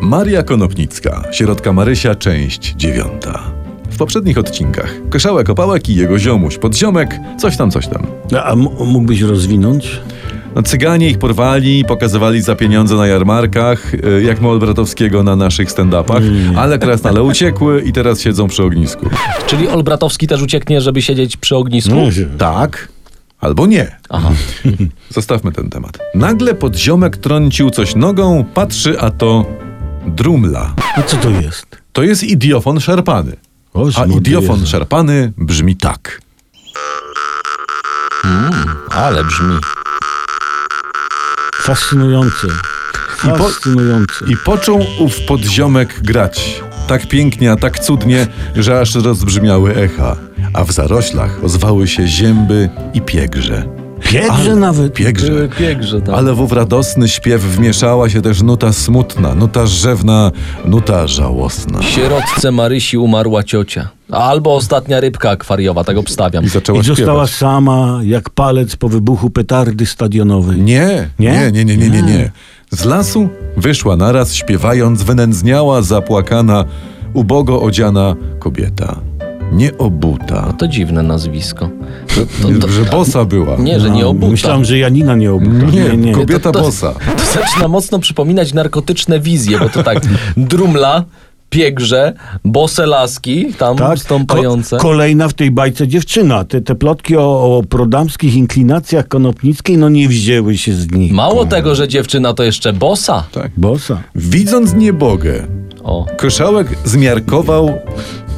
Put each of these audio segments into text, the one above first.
Maria Konopnicka, środka Marysia, część dziewiąta. W poprzednich odcinkach Koszałek Opałek i jego ziomuś, podziomek, coś tam, coś tam. No, A, a m- mógłbyś rozwinąć? No, cyganie ich porwali, pokazywali za pieniądze na jarmarkach, y, jak Moll Bratowskiego na naszych stand-upach, ale teraz nale uciekły i teraz siedzą przy ognisku. Czyli Olbratowski też ucieknie, żeby siedzieć przy ognisku? Tak albo nie. Aha. Zostawmy ten temat. Nagle podziomek trącił coś nogą, patrzy, a to drumla. A co to jest? To jest idiofon szarpany. O, A smutny idiofon jest. szarpany brzmi tak. Ale brzmi. Fascynujące. po- Fascynujące. I począł ów podziomek grać. Tak pięknie, a tak cudnie, że aż rozbrzmiały echa. A w zaroślach ozwały się zięby i piegrze. Piegrze nawet. Piegrze. Były Piegrze, tak. Ale w ów radosny śpiew wmieszała się też nuta smutna, nuta rzewna, nuta żałosna. Sierotce Marysi umarła ciocia. Albo ostatnia rybka akwariowa, tak obstawiam. I zaczęła I została śpiewać. sama jak palec po wybuchu petardy stadionowej. Nie, nie, Nie? nie, nie, nie, nie, nie. Z lasu wyszła naraz śpiewając, wynędzniała, zapłakana, ubogo odziana kobieta. Nieobuta. To dziwne nazwisko. To, to, Że bosa była. nie, że nie A, obuta. No, Myślałem, że Janina nie obuta. Nie, kobieta To- to- bosa. To zaczyna mocno przypominać narkotyczne wizje, bo to tak drumla, piegrze, bose laski, tam Tak? stąpające. Ko- kolejna w tej bajce dziewczyna. Te, te plotki o, o prodamskich inklinacjach konopnickiej no nie wzięły się z nich. Mało tego, że dziewczyna to jeszcze bosa. Bosa. Tak. Widząc niebogę, O. koszałek zmiarkował,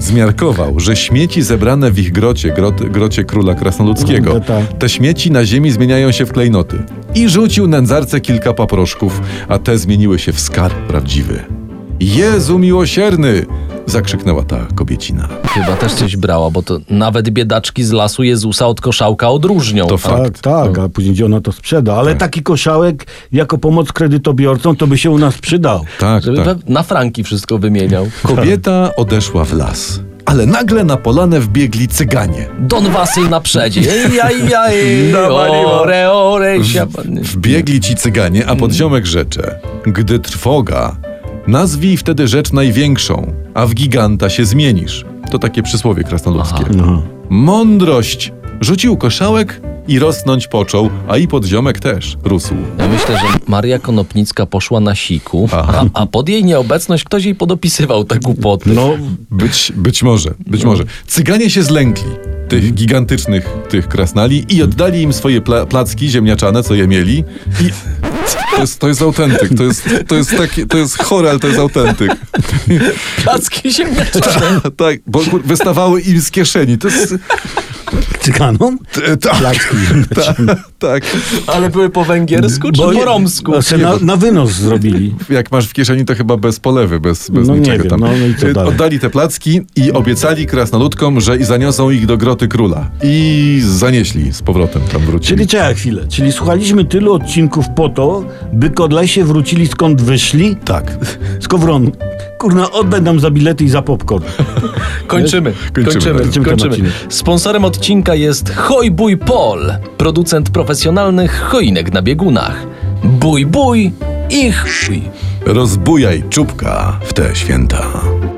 zmiarkował, że śmieci zebrane w ich grocie, grot, grocie króla krasnoludzkiego, No, tak. te śmieci na ziemi zmieniają się w klejnoty. I rzucił nędzarce kilka paproszków, a te zmieniły się w skarb prawdziwy. Jezu miłosierny! zakrzyknęła ta kobiecina. Chyba też coś brała, bo to nawet biedaczki z lasu Jezusa od koszałka odróżnią. To fakt. Tak, tak, a później gdzie ona to sprzeda. Ale taki koszałek jako pomoc kredytobiorcom to by się u nas przydał. Tak, Żeby tak. we- na franki wszystko wymieniał. Kobieta odeszła w las, ale nagle na polanę wbiegli cyganie. Don Wasyl na przedzie. Jaj, jaj, Nawaliło. ore, ore, W- siabany. Wbiegli ci cyganie, a podziomek rzecze. Gdy trwoga, nazwij wtedy rzecz największą, a w giganta się zmienisz. To takie przysłowie krasnoludzkie. No. Mądrość! Rzucił koszałek i rosnąć począł, a i podziomek też rósł. Ja myślę, że Maria Konopnicka poszła na siku, a, a pod jej nieobecność ktoś jej podopisywał te głupoty. No, Być, być może, być może. Cyganie się zlękli tych gigantycznych, tych krasnali i oddali im swoje pla- placki ziemniaczane, co je mieli i... To jest, to jest autentyk, to jest, to jest taki, to jest chore, ale to jest autentyk. Placki się tak, bo kur- wystawały im z kieszeni. To jest. cyganom? t- Tak, tak, tak. Ale były po węgiersku czy po romsku? No, se na, na wynos zrobili. Jak masz w kieszeni, to chyba bez polewy, bez, bez No nie niczego wiem, tam. no, no i co Y, dalej? No. Oddali te placki i obiecali krasnoludkom, że i zaniosą ich do groty króla. I zanieśli z powrotem tam wrócili. Czyli czekaj chwilę. Czyli słuchaliśmy tylu odcinków po to, by kodlesie wrócili skąd wyszli? Tak. Z Kowronu. Kurna, oddaj nam za bilety i za popcorn. Kończymy. Kończymy. Kończymy ten odcinek. Sponsorem odcinka jest Hoj Bój Pol, producent profesjonalnych choinek na biegunach. Bój, bój i chuj. Rozbujaj czubka w te święta.